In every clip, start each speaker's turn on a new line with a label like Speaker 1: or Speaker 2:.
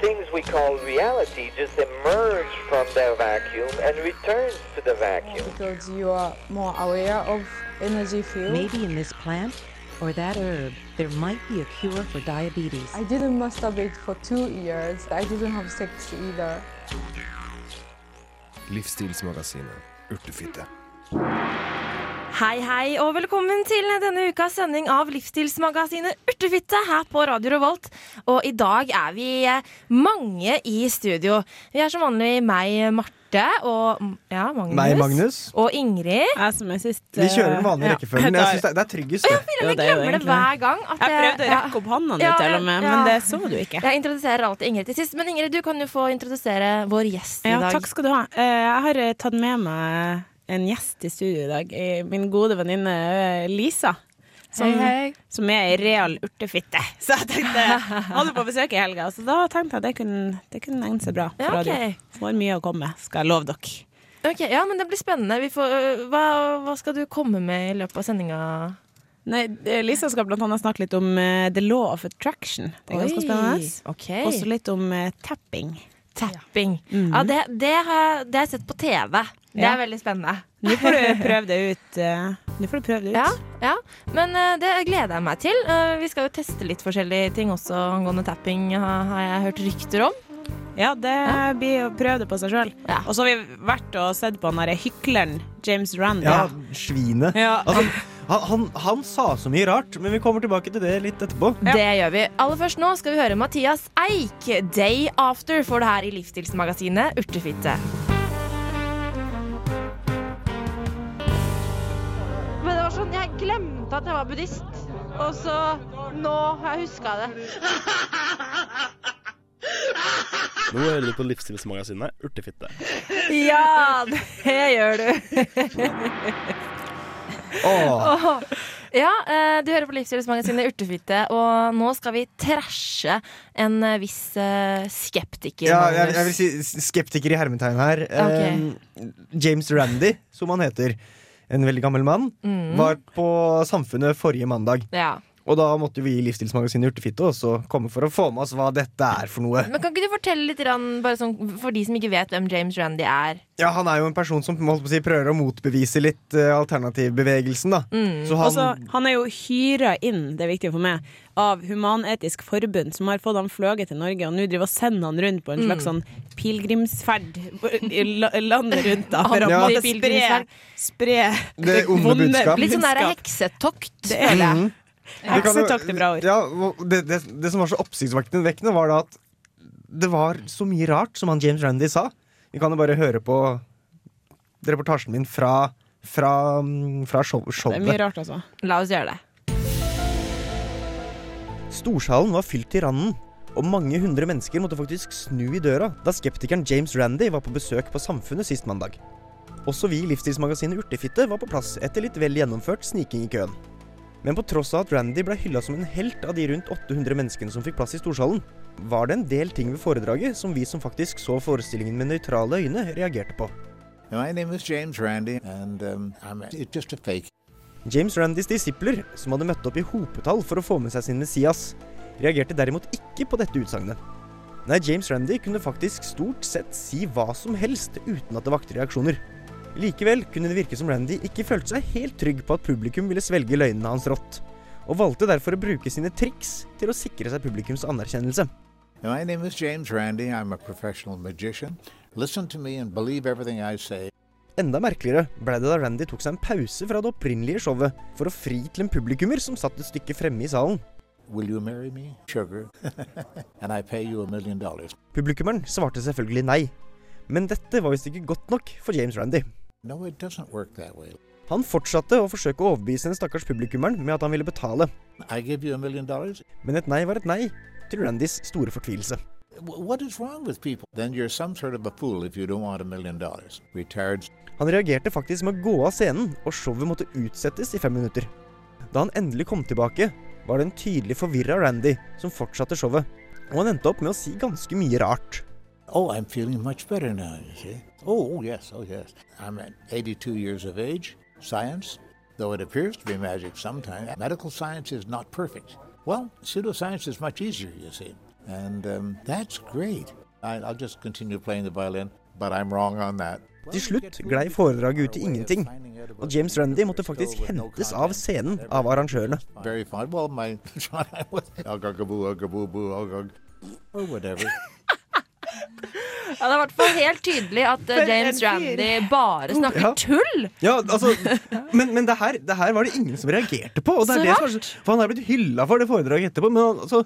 Speaker 1: things we call reality just emerge from their vacuum and returns to the vacuum.
Speaker 2: because you are more aware of energy field.
Speaker 3: Maybe in this plant or that herb, there might be a cure for diabetes.
Speaker 2: I didn't masturbate for two years. I didn't have sex either.
Speaker 4: Livsstilsmagasinet Urtefitte.
Speaker 5: Hei, hei, og velkommen til denne ukas sending av livsstilsmagasinet Urtefitte her på Radio Revolt. Og i dag er vi eh, mange i studio. Vi er som vanlig meg, Marte, og mm, ja, Magnus.
Speaker 6: Meg, Magnus.
Speaker 5: Og Ingrid.
Speaker 7: Jeg som er sist. eh,
Speaker 6: Vi kjører den vanlige
Speaker 7: ja.
Speaker 6: rekkefølgen. Jeg synes det, det er tryggest. det.
Speaker 5: Jeg
Speaker 7: Jo, det er jo
Speaker 5: glemmer det
Speaker 7: egentlig-
Speaker 5: hver gang. at
Speaker 7: Jeg
Speaker 5: jeg-
Speaker 7: prøvde å
Speaker 5: ja.
Speaker 7: rekke opp hånda di
Speaker 5: Ja,
Speaker 7: til og med,
Speaker 5: ja.
Speaker 7: men det så du ikke.
Speaker 5: Jeg introduserer alltid Ingrid til sist, men Ingrid, du kan jo få introdusere vår gjest i
Speaker 7: Ja,
Speaker 5: dag.
Speaker 7: takk skal du ha. Eh, Jeg har eh, tatt med meg en gjest i studio i dag. eh, Min gode venninne eh, Lisa. Som, som er ei real urtefitte. Så jeg tenkte Holder på besøk i helga, så da tenkte jeg det kunne, det kunne egne seg bra. for
Speaker 5: Ja, ok.
Speaker 7: radio. Så Hun har mye å komme med, skal jeg love dere.
Speaker 5: Ok, ja, men det blir spennende. Vi får, øh, hva, hva skal du komme med i løpet av sendinga?
Speaker 7: Nei, eh, Lisa skal blant annet snakke litt om eh, the law of attraction. Det er ganske spennende.
Speaker 5: Ok.
Speaker 7: Også litt om eh, tapping.
Speaker 5: Tapping. Ja, Mm. det, det, har jeg, det har jeg sett på TV. Det
Speaker 7: Ja.
Speaker 5: er veldig spennende.
Speaker 7: Nå får du prøve det ut. eh, Nå får du prøve det ut.
Speaker 5: Ja, ja. Men eh, det gleder jeg meg til. Eh, vi skal jo teste litt forskjellige ting også angående tapping, ha- har jeg hørt rykter om.
Speaker 7: Ja, det blir å prøve det på seg sjøl.
Speaker 5: Ja.
Speaker 7: Og så har vi vært og sett på han derre hykleren James Rand.
Speaker 6: Ja, svinet.
Speaker 7: Ja.
Speaker 6: Altså, han, han, han sa så mye rart, men vi kommer tilbake til det litt etterpå.
Speaker 7: Ja.
Speaker 5: Det gjør vi. Aller først nå skal vi høre Mathias Eik. 'Day After' får du her i livsstilsmagasinet Urtefitte.
Speaker 8: Men det var sånn, jeg glemte at jeg var buddhist. Og så nå har jeg huska det.
Speaker 9: Nå hører du på livsstilsmagasinet Urtefitte.
Speaker 5: Ja, det gjør du.
Speaker 6: Åh,
Speaker 5: Ja, eh, du hører på Livsstilsmagasinet Urtefitte, og nå skal vi trashe en eh, viss eh, skeptiker.
Speaker 6: ja, jeg, jeg vil
Speaker 5: Magnus.
Speaker 6: si s- skeptiker i hermetegn her.
Speaker 5: Ok.
Speaker 6: Eh, James Randy, som han heter. En veldig gammel mann.
Speaker 7: Mm.
Speaker 6: Var på Samfunnet forrige mandag.
Speaker 5: ja.
Speaker 6: Og da måtte vi i Livsstilsmagasinet Urtefitte også komme for å få med oss hva dette er for noe.
Speaker 5: Men Kan ikke du fortelle litt grann, bare sånn, for de som ikke vet hvem James Randy er?
Speaker 6: Ja, Han er jo en person som holdt på å si, prøver å motbevise litt eh, alternativbevegelsen. da Så han,
Speaker 7: Mm. Og så, han er jo hyra inn, det er viktig for meg, av Human-Etisk Forbund, som har fått han fløyet til Norge, og nå driver og sender han rundt på en
Speaker 5: Mm.
Speaker 7: slags sånn pilegrimsferd i la- landet rundt, da, for å
Speaker 6: Ja.
Speaker 7: på en måte spre,
Speaker 5: Pilegrimsferd.
Speaker 7: spre
Speaker 6: Det onde budskap.
Speaker 5: Litt sånn der
Speaker 7: budskap.
Speaker 5: heksetokt,
Speaker 7: Det
Speaker 5: føler jeg.
Speaker 6: Mhm. Vi kan jo-
Speaker 7: Heksetakt er bra ord.
Speaker 6: Ja, og det, det, det som var så oppsiktsvekkende, var da at det var så mye rart som han James Randy sa. Vi kan jo bare høre på reportasjen min fra, fra, mm, fra show,
Speaker 7: Det er mye
Speaker 6: showet.
Speaker 7: rart, altså.
Speaker 5: La oss gjøre det.
Speaker 6: Storsalen var fylt til randen, og mange hundre mennesker måtte faktisk snu i døra da skeptikeren James Randy var på besøk på Samfunnet sist mandag. Også vi i livsstilsmagasinet Urtefitte var på plass etter litt vel gjennomført sniking i køen. Men på tross av at Randy ble hylla som en helt av de rundt 800 menneskene som fikk plass i Storsalen, var det en del ting ved foredraget som vi som faktisk så forestillingen med nøytrale øyne, reagerte på.
Speaker 10: My name is James Randy, and um, I'm it's just a fake.
Speaker 6: James Randys disipler, som hadde møtt opp i hopetall for å få med seg sin Messias, reagerte derimot ikke på dette utsagnet. Nei, James Randy kunne faktisk stort sett si hva som helst uten at det vakte reaksjoner. Likevel kunne det virke som Randy ikke følte seg helt trygg på at publikum ville svelge løgnene hans rått, og valgte derfor å bruke sine triks til å sikre seg publikums anerkjennelse.
Speaker 10: My name is James Randy. I'm a professional magician. Listen to me and believe everything I say.
Speaker 6: Enda merkeligere ble det da Randy tok seg en pause fra det opprinnelige showet for å fri til en publikummer som satt et stykke fremme i salen.
Speaker 10: Will you marry me, sugar? and I pay you a million dollars.
Speaker 6: Publikummeren svarte selvfølgelig nei. Men dette var visst ikke godt nok for James Randy.
Speaker 10: No, it doesn't work that way.
Speaker 6: Han fortsatte å forsøke å overbevise den stakkars publikummeren med at han ville betale,
Speaker 10: I give you a million dollars.
Speaker 6: men et nei var et nei, til Randys store fortvilelse.
Speaker 10: W- What is wrong with people? Then you're some sort of a fool if you don't want a million dollars. Retards.
Speaker 6: Han reagerte faktisk med å gå av scenen, og showet måtte utsettes i fem minutter. Da han endelig kom tilbake, var det en tydelig forvirra Randy som fortsatte showet, og han endte opp med å si ganske mye rart.
Speaker 10: Oh, I'm feeling much better now, you see. Oh, oh, yes, oh, yes. I'm at 82 years of age. Science, though it appears to be magic sometimes, medical science is not perfect. Well, pseudoscience is much easier, you see. And um, that's great. I, I'll just continue playing the violin, but I'm wrong on that.
Speaker 6: Til slutt glei foredraget ut i ingenting, og James Randi måtte faktisk hentes av scenen av arrangørene.
Speaker 10: Very fun. Well, my John, I was agagaboo, agaboo, agag, or whatever.
Speaker 5: Ja, det er i hvert fall helt tydelig at eh, James Randy bare snakker
Speaker 6: Ja.
Speaker 5: tull.
Speaker 6: Ja, altså, Men, men det, her, det her var det ingen som reagerte på. Og det
Speaker 5: Så
Speaker 6: er det som er, så- for han har blitt hylla for det foredraget etterpå, men han- altså,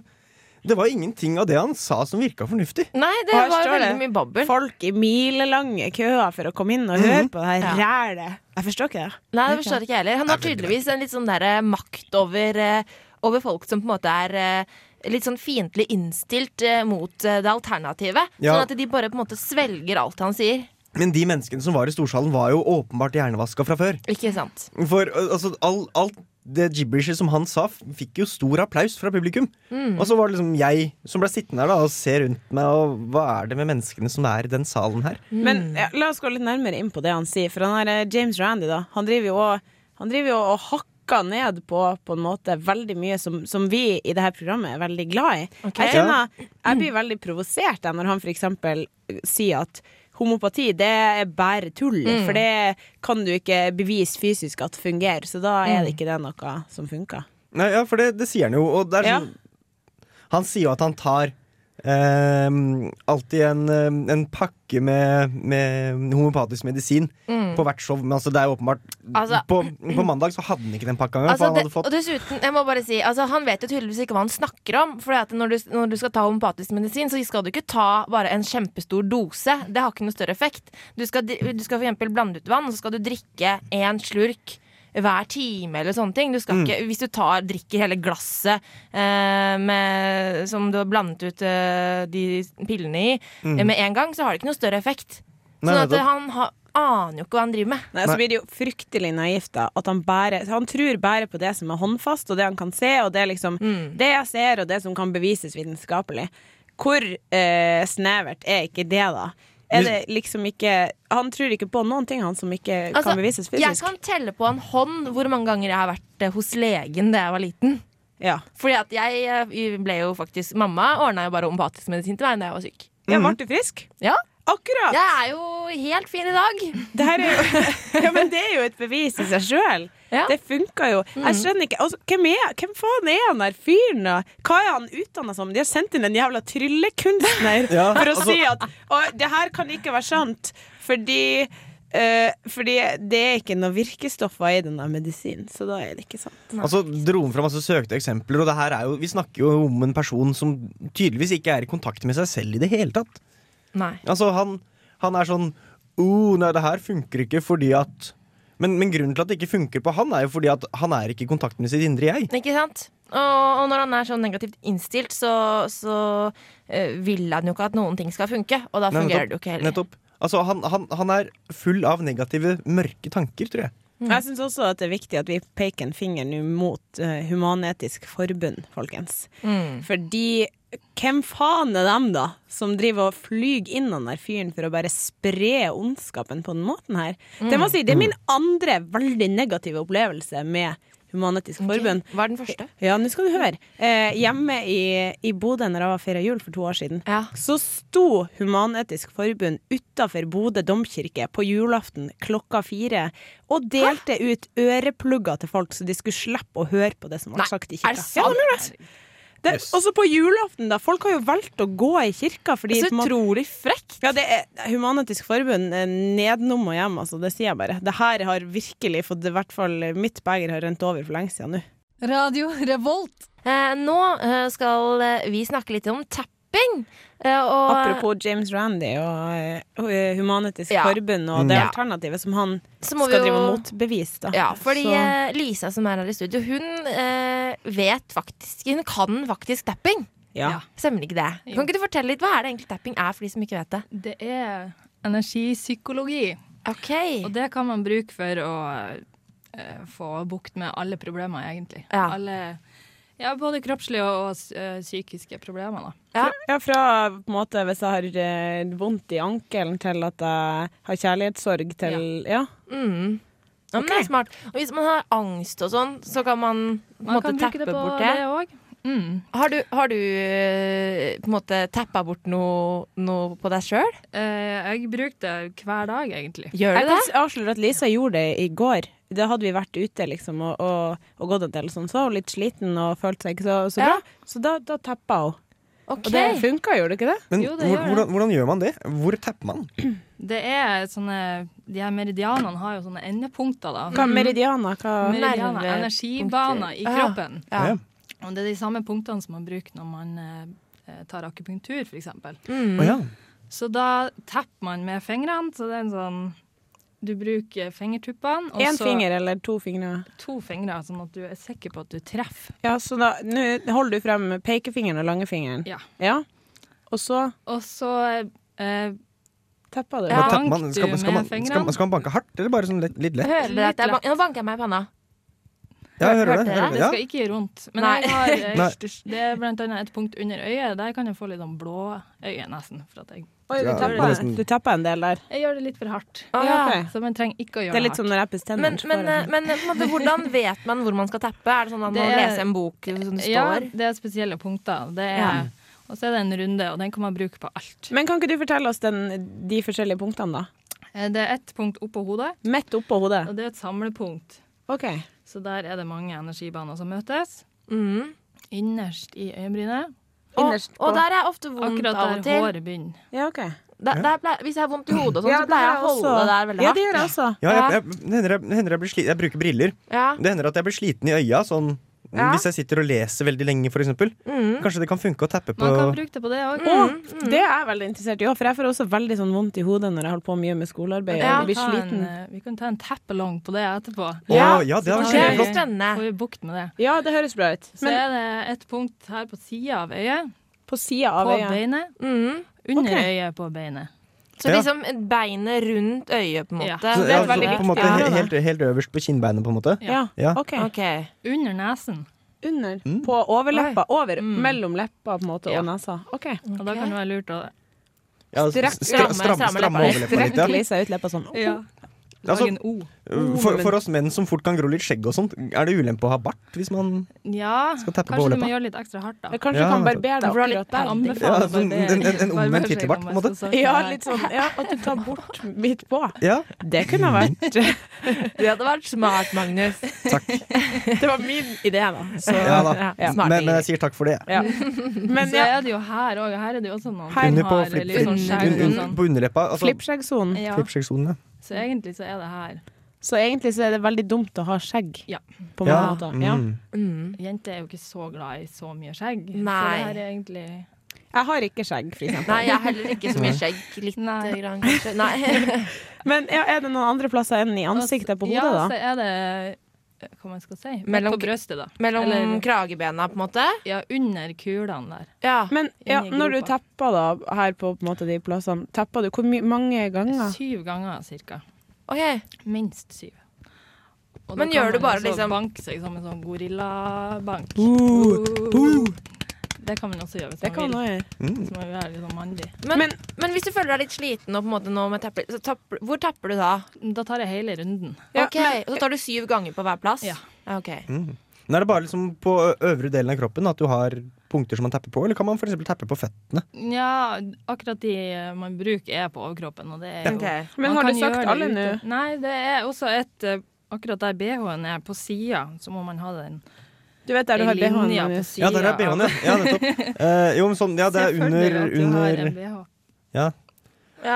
Speaker 6: det var ingenting av det han sa som virka fornuftig.
Speaker 5: Nei, det
Speaker 7: Her
Speaker 5: var
Speaker 7: står
Speaker 5: veldig
Speaker 7: det.
Speaker 5: mye babbel. Mhm.
Speaker 7: Folk i milelange køer for å komme inn og høre på det her rælet. Jeg forstår ikke det.
Speaker 5: Nei, det forstår ikke jeg heller. Han har tydeligvis en litt sånn der eh, makt over, eh, over folk som på en måte er eh, litt sånn fiendtlig innstilt eh, mot eh, det alternativet.
Speaker 6: Ja.
Speaker 5: Sånn at de bare på en måte svelger alt han sier.
Speaker 6: Men de menneskene som var i storsalen, var jo åpenbart hjernevaska fra før.
Speaker 5: Ikke sant?
Speaker 6: For al- altså, all, alt det gibberishet som han sa, f- fikk jo stor applaus fra publikum.
Speaker 5: Mm.
Speaker 6: Og så var det liksom jeg som ble sittende her da og se rundt meg, og hva er det med menneskene som er i den salen her?
Speaker 7: Men ja, la oss gå litt nærmere inn på det han sier. For han her, eh, James Randy da, han driver jo og, han driver jo og hakker ned på på en måte veldig mye som, som vi i det her programmet er veldig glad i. Jeg kjenner, jeg blir veldig provosert jeg, når han for eksempel eh, sier at homopati det er bare tull, for det kan du ikke bevise fysisk at fungerer. Så da er det ikke det noe som funker.
Speaker 6: Nei, ja, for det, det sier han jo, og det er
Speaker 7: Ja.
Speaker 6: sånn Han sier jo at han tar ehm, alltid en, ehm, en pakke med, med homopatisk medisin på hvert show. Men altså, det er jo åpenbart
Speaker 5: Mm. Altså-
Speaker 6: på, på mandag så hadde han ikke den pakka engang.
Speaker 5: Altså,
Speaker 6: for han
Speaker 5: det,
Speaker 6: hadde
Speaker 5: og
Speaker 6: fått
Speaker 5: dessuten, jeg må bare si altså, Han vet jo tydeligvis ikke hva han snakker om. For når, du- når du skal ta homopatisk medisin, så skal du ikke ta bare en kjempestor dose. Det har ikke noe større effekt. Du skal, dri- du skal for eksempel blande ut vann, og så skal du drikke én slurk hver time eller sånne ting. Du
Speaker 6: Mm.
Speaker 5: skal ikke, hvis du tar, drikker hele glasset eh, med, som du har blandet ut eh, de pillene i, eh, med en gang, så har det ikke noe større effekt.
Speaker 6: Mm. Nei,
Speaker 5: sånn at
Speaker 6: nettopp.
Speaker 5: eh, han har, aner jo ikke hva han driver med.
Speaker 7: Nei, Så blir det jo fryktelig naivt, da. At han, bare, han tror bare på det som er håndfast, og det han kan se, og det, er liksom,
Speaker 5: Mm.
Speaker 7: det jeg ser, og det som kan bevises vitenskapelig. Hvor eh, snevert er ikke det, da? Er det liksom ikke Han tror ikke på noen ting, han, som ikke
Speaker 5: Altså,
Speaker 7: kan bevises
Speaker 5: Jeg
Speaker 7: fysisk.
Speaker 5: kan telle på en hånd hvor mange ganger jeg har vært eh, hos legen da jeg var liten.
Speaker 7: Ja.
Speaker 5: Fordi at jeg eh, ble jo faktisk Mamma ordna jo bare homopatisk medisin til meg da jeg var syk.
Speaker 7: ja, ble du frisk?
Speaker 5: Ja,
Speaker 7: Akkurat!
Speaker 5: Jeg er jo helt fin i dag.
Speaker 7: Det her er jo, ja, men det er jo et bevis i seg sjøl.
Speaker 5: Ja.
Speaker 7: Det funka jo. Jeg skjønner ikke altså, hvem, er, hvem faen er han der fyren, da? Hva er han utdanna som? De har sendt inn en jævla tryllekunstner
Speaker 6: Ja,
Speaker 7: for å
Speaker 6: altså-
Speaker 7: si at Og det her kan ikke være sant, fordi eh, fordi det er ikke noe virkestoffer i den der medisinen, så da er det ikke sant.
Speaker 6: Altså, dro han fra masse søkte eksempler, og det her er jo, vi snakker jo om en person som tydeligvis ikke er i kontakt med seg selv i det hele tatt.
Speaker 5: Nei.
Speaker 6: Altså, han, han er sånn oh, Nei, det her funker ikke fordi at men, men grunnen til at det ikke funker på han, er jo fordi at han er ikke i kontakt med sitt indre jeg.
Speaker 5: Ikke sant? Og, og når han er så negativt innstilt, så, så eh, vil han jo ikke at noen ting skal funke. Og da
Speaker 6: Nei,
Speaker 5: fungerer
Speaker 6: nettopp.
Speaker 5: det jo ikke heller.
Speaker 6: Nettopp. Altså, han, han, han er full av negative, mørke tanker, tror jeg.
Speaker 7: Jeg syns også at det er viktig at vi peker en finger nå mot eh, Human-Etisk Forbund, folkens. Fordi hvem faen er dem, da, som driver og flyr inn han der fyren for å bare spre ondskapen på den måten her? Det må jeg si, det er min andre veldig negative opplevelse med Human-Etisk Forbund.
Speaker 5: Hva er den første?
Speaker 7: Ja, nå skal du høre. Eh, hjemme i, i Bodø når jeg var feira jul for to år siden,
Speaker 5: Ja.
Speaker 7: så sto Human-Etisk Forbund utafor Bodø domkirke på julaften klokka fire og delte ut øreplugger til folk, så de skulle slippe å høre på det som ble
Speaker 5: Nei,
Speaker 7: sagt i
Speaker 5: er
Speaker 7: kirka.
Speaker 5: det
Speaker 7: Ja,
Speaker 5: sant?
Speaker 7: de gjorde det. Det, Også på julaften, da. Folk har jo valgt å gå i kirka fordi
Speaker 5: Så
Speaker 7: på en måte-
Speaker 5: utrolig frekt!
Speaker 7: ja, det er Human-Etisk Forbund eh, nedenom og hjem, altså. Det sier jeg bare. Det her har virkelig fått I hvert fall eh, mitt beger har rent over for lenge siden nå.
Speaker 2: Radio Revolt.
Speaker 5: Eh, nå eh, skal eh, vi snakke litt om tapping. Eh, og,
Speaker 7: Apropos James Randy og eh, Human-Etisk
Speaker 5: Ja.
Speaker 7: Forbund og det
Speaker 5: Ja.
Speaker 7: alternativet som han
Speaker 5: Så må
Speaker 7: skal
Speaker 5: vi jo-
Speaker 7: drive motbevis, da.
Speaker 5: Ja, fordi
Speaker 7: Så-
Speaker 5: eh, Lisa som er her i studio, hun eh, vet faktisk Hun kan faktisk tapping.
Speaker 7: ja.
Speaker 5: Stemmer ikke det? Kan ikke du fortelle litt, Hva er det egentlig tapping er for de som ikke vet det?
Speaker 2: Det er energipsykologi,
Speaker 5: Ok,
Speaker 2: og det kan man bruke for å eh, få bukt med alle problemer, egentlig.
Speaker 5: Ja.
Speaker 2: Alle, ja, både kroppslige og eh, psykiske problemer, da.
Speaker 5: ja.
Speaker 7: Ja, fra på en måte hvis jeg har eh, vondt i ankelen til at jeg har kjærlighetssorg til Ja.
Speaker 5: Mm. Ja, men det
Speaker 7: Ok.
Speaker 5: er smart. Og hvis man har angst og sånn, så kan man, på en
Speaker 2: Man
Speaker 5: måte
Speaker 2: kan bruke
Speaker 5: tappe
Speaker 2: det på
Speaker 5: bort
Speaker 2: det
Speaker 5: det.
Speaker 2: òg. Mm.
Speaker 5: Har du, har du eh, på en måte tappa bort noe, noe på deg sjøl?
Speaker 2: Eh, jeg bruker det hver dag, egentlig.
Speaker 5: Gjør
Speaker 7: Jeg
Speaker 5: du det?
Speaker 7: kan avsløre at Lisa gjorde det i går. Da hadde vi vært ute liksom, og, og, og gått en del sånn, så var hun litt sliten og følte seg ikke så, så bra.
Speaker 5: Ja.
Speaker 7: Så da, da tappa hun.
Speaker 5: Ok.
Speaker 7: Og det funka, gjorde det ikke det?
Speaker 6: Men
Speaker 2: Jo, det
Speaker 6: hvor,
Speaker 2: gjør det.
Speaker 6: hvordan, hvordan gjør man det? Hvor tapper man?
Speaker 2: Det er sånne De her meridianene har jo sånne endepunkter, da.
Speaker 5: Mm.
Speaker 7: Hva, meridiana, hva
Speaker 2: Meridianer,
Speaker 5: nervepunkter.
Speaker 2: energibaner i
Speaker 5: Ah,
Speaker 2: kroppen.
Speaker 5: Ja.
Speaker 2: Og det er de samme punktene som man bruker når man eh, tar akupunktur, f.eks.
Speaker 5: Mm.
Speaker 6: Å ja.
Speaker 2: Så da tapper man med fingrene, så det er en sånn Du bruker fingertuppene, og
Speaker 7: Én
Speaker 2: så
Speaker 7: finger eller to fingre?
Speaker 2: to fingre, sånn at du er sikker på at du treffer.
Speaker 7: Ja, så da nå holder du frem pekefingeren og langefingeren.
Speaker 2: Ja.
Speaker 7: Og så
Speaker 2: Og så eh,
Speaker 7: tappa du.
Speaker 5: Ja.
Speaker 6: Hva tapper
Speaker 2: Bank
Speaker 6: man? Skal,
Speaker 2: du
Speaker 6: skal,
Speaker 2: med
Speaker 6: man skal,
Speaker 2: fingrene?
Speaker 6: skal man banke hardt, eller bare sånn lett, litt lett?
Speaker 5: Hører dere at jeg
Speaker 2: Litt
Speaker 5: ban- Nå banker jeg meg i panna.
Speaker 6: Ja, jeg hører
Speaker 5: hørte
Speaker 6: det.
Speaker 5: dere?
Speaker 6: Hører
Speaker 2: Det
Speaker 6: det. Ja.
Speaker 2: skal ikke gi rundt. Men
Speaker 5: Nei.
Speaker 2: jeg har, eh,
Speaker 6: Nei.
Speaker 2: det er blant annet et punkt under øyet. Der kan jeg få litt sånn blå øye, nesten. For at jeg,
Speaker 7: Oi, du
Speaker 6: Ja, det
Speaker 7: tappa
Speaker 6: var nesten-
Speaker 7: du tappa en del der.
Speaker 2: jeg gjør det litt for hardt.
Speaker 5: Å,
Speaker 7: Ja,
Speaker 5: Ah, ja.
Speaker 7: ok.
Speaker 2: Så man trenger ikke å gjøre
Speaker 7: Det er litt som
Speaker 5: sånn
Speaker 2: hardt.
Speaker 7: når jeg pusser
Speaker 5: Men,
Speaker 7: tennene.
Speaker 5: men, eh, men på en måte, hvordan vet man hvor man skal tappe? Er det sånn at man må
Speaker 2: Det er-
Speaker 5: lese en bok som det
Speaker 2: ja,
Speaker 5: står?
Speaker 2: det er spesielle punkter. Det er,
Speaker 5: Ja.
Speaker 2: Og så er det en runde, og den kan man bruke på alt.
Speaker 7: Men kan ikke du fortelle oss den, de forskjellige punktene, da?
Speaker 2: Eh, Det er ett punkt oppå hodet,
Speaker 7: Midt oppå hodet.
Speaker 2: og det er et samlepunkt.
Speaker 7: OK.
Speaker 2: Så der er det mange energibaner som møtes.
Speaker 5: Mm.
Speaker 2: Innerst i øyenbrynet.
Speaker 5: Og,
Speaker 7: Innerst på.
Speaker 5: og der er jeg ofte vondt
Speaker 2: Akkurat
Speaker 5: av og
Speaker 2: der
Speaker 5: til.
Speaker 2: håret begynner.
Speaker 7: Ja, ok.
Speaker 5: Der, der pleier, hvis jeg har vondt i hodet, og sånn,
Speaker 7: Ja,
Speaker 5: så pleier jeg
Speaker 7: det
Speaker 5: å
Speaker 7: har jeg
Speaker 5: holde
Speaker 7: også.
Speaker 5: der veldig
Speaker 7: Ja, det
Speaker 5: hardt.
Speaker 7: gjør jeg også.
Speaker 6: Ja, jeg, jeg, det hender, jeg, det hender jeg blir sliten. Jeg bruker briller.
Speaker 5: Ja.
Speaker 6: Det hender at jeg blir sliten i øya, sånn
Speaker 5: Ja.
Speaker 6: hvis jeg sitter og leser veldig lenge, for eksempel.
Speaker 5: Mm.
Speaker 6: Kanskje det kan funke å tappe på
Speaker 2: Man kan bruke det på det òg.
Speaker 7: Å, det er jeg veldig interessert i òg, for jeg får også veldig sånn vondt i hodet når jeg holder på mye med skolearbeid.
Speaker 5: Ja. eh,
Speaker 7: og blir sliten.
Speaker 2: Vi kan ta en tappalong på det etterpå.
Speaker 6: Å, ja, det
Speaker 2: Så
Speaker 6: har
Speaker 5: Det
Speaker 2: kanskje
Speaker 5: er
Speaker 6: vært
Speaker 2: vi-
Speaker 6: flott.
Speaker 5: litt spennende.
Speaker 2: Får vi bukt med det.
Speaker 7: Ja, det høres bra ut.
Speaker 2: Så
Speaker 7: Men
Speaker 2: er det et punkt her på sida av øyet.
Speaker 7: på sida
Speaker 2: På
Speaker 7: av øyet
Speaker 2: beinet.
Speaker 5: Mm.
Speaker 2: Under
Speaker 7: Ok.
Speaker 2: øyet på beinet.
Speaker 5: Så
Speaker 6: Ja.
Speaker 5: liksom beinet rundt øyet, på en
Speaker 2: Ja.
Speaker 5: måte.
Speaker 6: Så,
Speaker 7: det
Speaker 6: ja,
Speaker 7: er
Speaker 6: så
Speaker 7: veldig
Speaker 6: på en måte,
Speaker 7: viktig.
Speaker 6: he- helt, helt øverst på kinnbeinet, på en måte.
Speaker 7: Ja.
Speaker 6: Ja. Mm.
Speaker 7: OK.
Speaker 5: Ok.
Speaker 2: Under nesen.
Speaker 7: Under. På overleppa. Over.
Speaker 2: Mm.
Speaker 7: Mellom leppa på en måte,
Speaker 2: Ja.
Speaker 7: og nesa. OK.
Speaker 2: Og da kan det være lurt å
Speaker 6: Ja,
Speaker 7: Strekk-
Speaker 6: s- stra-
Speaker 5: stramme-
Speaker 6: stramme,
Speaker 5: stramme
Speaker 6: stramme
Speaker 5: leppa.
Speaker 6: overleppa litt.
Speaker 7: Strekk
Speaker 6: Ja.
Speaker 7: Lisa ut leppa sånn.
Speaker 2: lage
Speaker 6: Altså,
Speaker 2: en O.
Speaker 6: For, for oss menn som fort kan gro litt skjegg og sånt, er det ulempe å ha bart hvis man
Speaker 2: Ja,
Speaker 6: Skal tappe på
Speaker 2: kanskje du
Speaker 6: overleppa.
Speaker 2: må gjøre litt ekstra hardt, da.
Speaker 7: Men Kanskje
Speaker 6: Ja,
Speaker 7: du kan
Speaker 6: vet du.
Speaker 7: barbere deg
Speaker 5: For du har litt
Speaker 7: akkurat der.
Speaker 5: barbering.
Speaker 6: Ja,
Speaker 2: Anbefaler
Speaker 6: sånn-
Speaker 2: barbering.
Speaker 6: en- en- en omvendt
Speaker 2: Barberskjegg,
Speaker 6: hyttebart, på en måte.
Speaker 2: om jeg skal
Speaker 7: Ja,
Speaker 2: søke
Speaker 7: litt sånn, ja, at du tar bort midt på.
Speaker 6: Ja,
Speaker 7: Det kunne ha vært
Speaker 5: Det hadde vært smart, Magnus.
Speaker 6: takk.
Speaker 7: Det var min idé, da. Så,
Speaker 6: Ja da.
Speaker 7: Ja.
Speaker 5: Smart,
Speaker 6: Men, men jeg
Speaker 5: Ingrid.
Speaker 6: sier takk for det. jeg.
Speaker 7: Ja.
Speaker 2: her.
Speaker 7: Men
Speaker 2: Så
Speaker 7: ja,
Speaker 2: er det jo her òg. Her er det jo også noen
Speaker 7: Her-
Speaker 2: som
Speaker 6: Under på,
Speaker 2: har
Speaker 6: flip,
Speaker 2: litt sånn skjegg
Speaker 6: un-
Speaker 2: og
Speaker 6: un-
Speaker 2: sånn.
Speaker 6: på underleppa. Altså,
Speaker 7: flippskjeggsonen.
Speaker 2: Ja.
Speaker 6: Flippskjeggsonen, ja.
Speaker 2: Så egentlig så er det her.
Speaker 7: Så egentlig så er det veldig dumt å ha skjegg.
Speaker 2: Ja.
Speaker 7: På mange
Speaker 6: Ja.
Speaker 7: måter. Ja.
Speaker 6: Mm.
Speaker 5: Mm.
Speaker 2: Jenter er jo ikke så glad i så mye skjegg.
Speaker 5: Nei.
Speaker 2: Så det her er egentlig
Speaker 7: Jeg har ikke skjegg, for eksempel.
Speaker 5: Nei, jeg har heller ikke så mye skjegg. Litt eh,
Speaker 2: Nei.
Speaker 5: grann, kanskje. Nei.
Speaker 7: Men ja, er det noen andre plasser enn i ansiktet på
Speaker 2: Altså, ja,
Speaker 7: hodet,
Speaker 2: så
Speaker 7: da?
Speaker 2: er det Hva man skal si?
Speaker 5: Mellom-
Speaker 2: Mellom på brøstet, da.
Speaker 5: Mellom
Speaker 2: Eller-
Speaker 5: kragebena, på en måte.
Speaker 2: Ja, under kulene der.
Speaker 5: Ja.
Speaker 7: Men ja,
Speaker 2: Inni
Speaker 7: når du
Speaker 2: gropa.
Speaker 7: tapper da, her på, på en måte, de plassene, tapper du hvor my mange ganger?
Speaker 2: Syv ganger cirka.
Speaker 5: Ok.
Speaker 2: Minst syv. Og da
Speaker 5: Men
Speaker 2: kan
Speaker 5: gjør du
Speaker 2: man
Speaker 5: bare
Speaker 2: også
Speaker 5: liksom-
Speaker 2: banke seg som en sånn gorillabank. Uh. Det kan man også gjøre hvis
Speaker 7: Uh. Det
Speaker 2: man
Speaker 7: kan
Speaker 2: vil.
Speaker 7: man gjøre.
Speaker 6: Mm.
Speaker 2: Hvis man vil være litt sånn mandig.
Speaker 5: Men,
Speaker 7: Men-
Speaker 5: men hvis du føler deg litt sliten, og på en måte nå med tapper, så tapper, hvor tapper du da?
Speaker 2: Da tar jeg hele runden.
Speaker 7: Ja,
Speaker 5: Ok, Så tar du syv ganger på hver plass?
Speaker 2: Ja.
Speaker 5: Ok.
Speaker 6: Nå er det bare liksom på ø- øvre delen av kroppen at du har punkter som man tapper på, eller kan man for eksempel tappe på føttene?
Speaker 2: Ja, akkurat de eh, man bruker er på overkroppen, og det er jo
Speaker 5: Ok.
Speaker 7: Men
Speaker 2: Man
Speaker 7: har
Speaker 2: kan
Speaker 7: du
Speaker 2: gjøre
Speaker 7: sagt
Speaker 2: det
Speaker 7: alle nå?
Speaker 2: ute. Nei, det er også et eh, Akkurat der BH-en er på sida, så må man ha den
Speaker 7: Du vet der du har
Speaker 2: ei
Speaker 7: BH-en?
Speaker 2: linje på
Speaker 7: Magnus.
Speaker 2: sida.
Speaker 6: Ja, der er BH-en, ja. ja nettopp. Eh, jo, men sånn, ja, det er under, under
Speaker 5: Ja.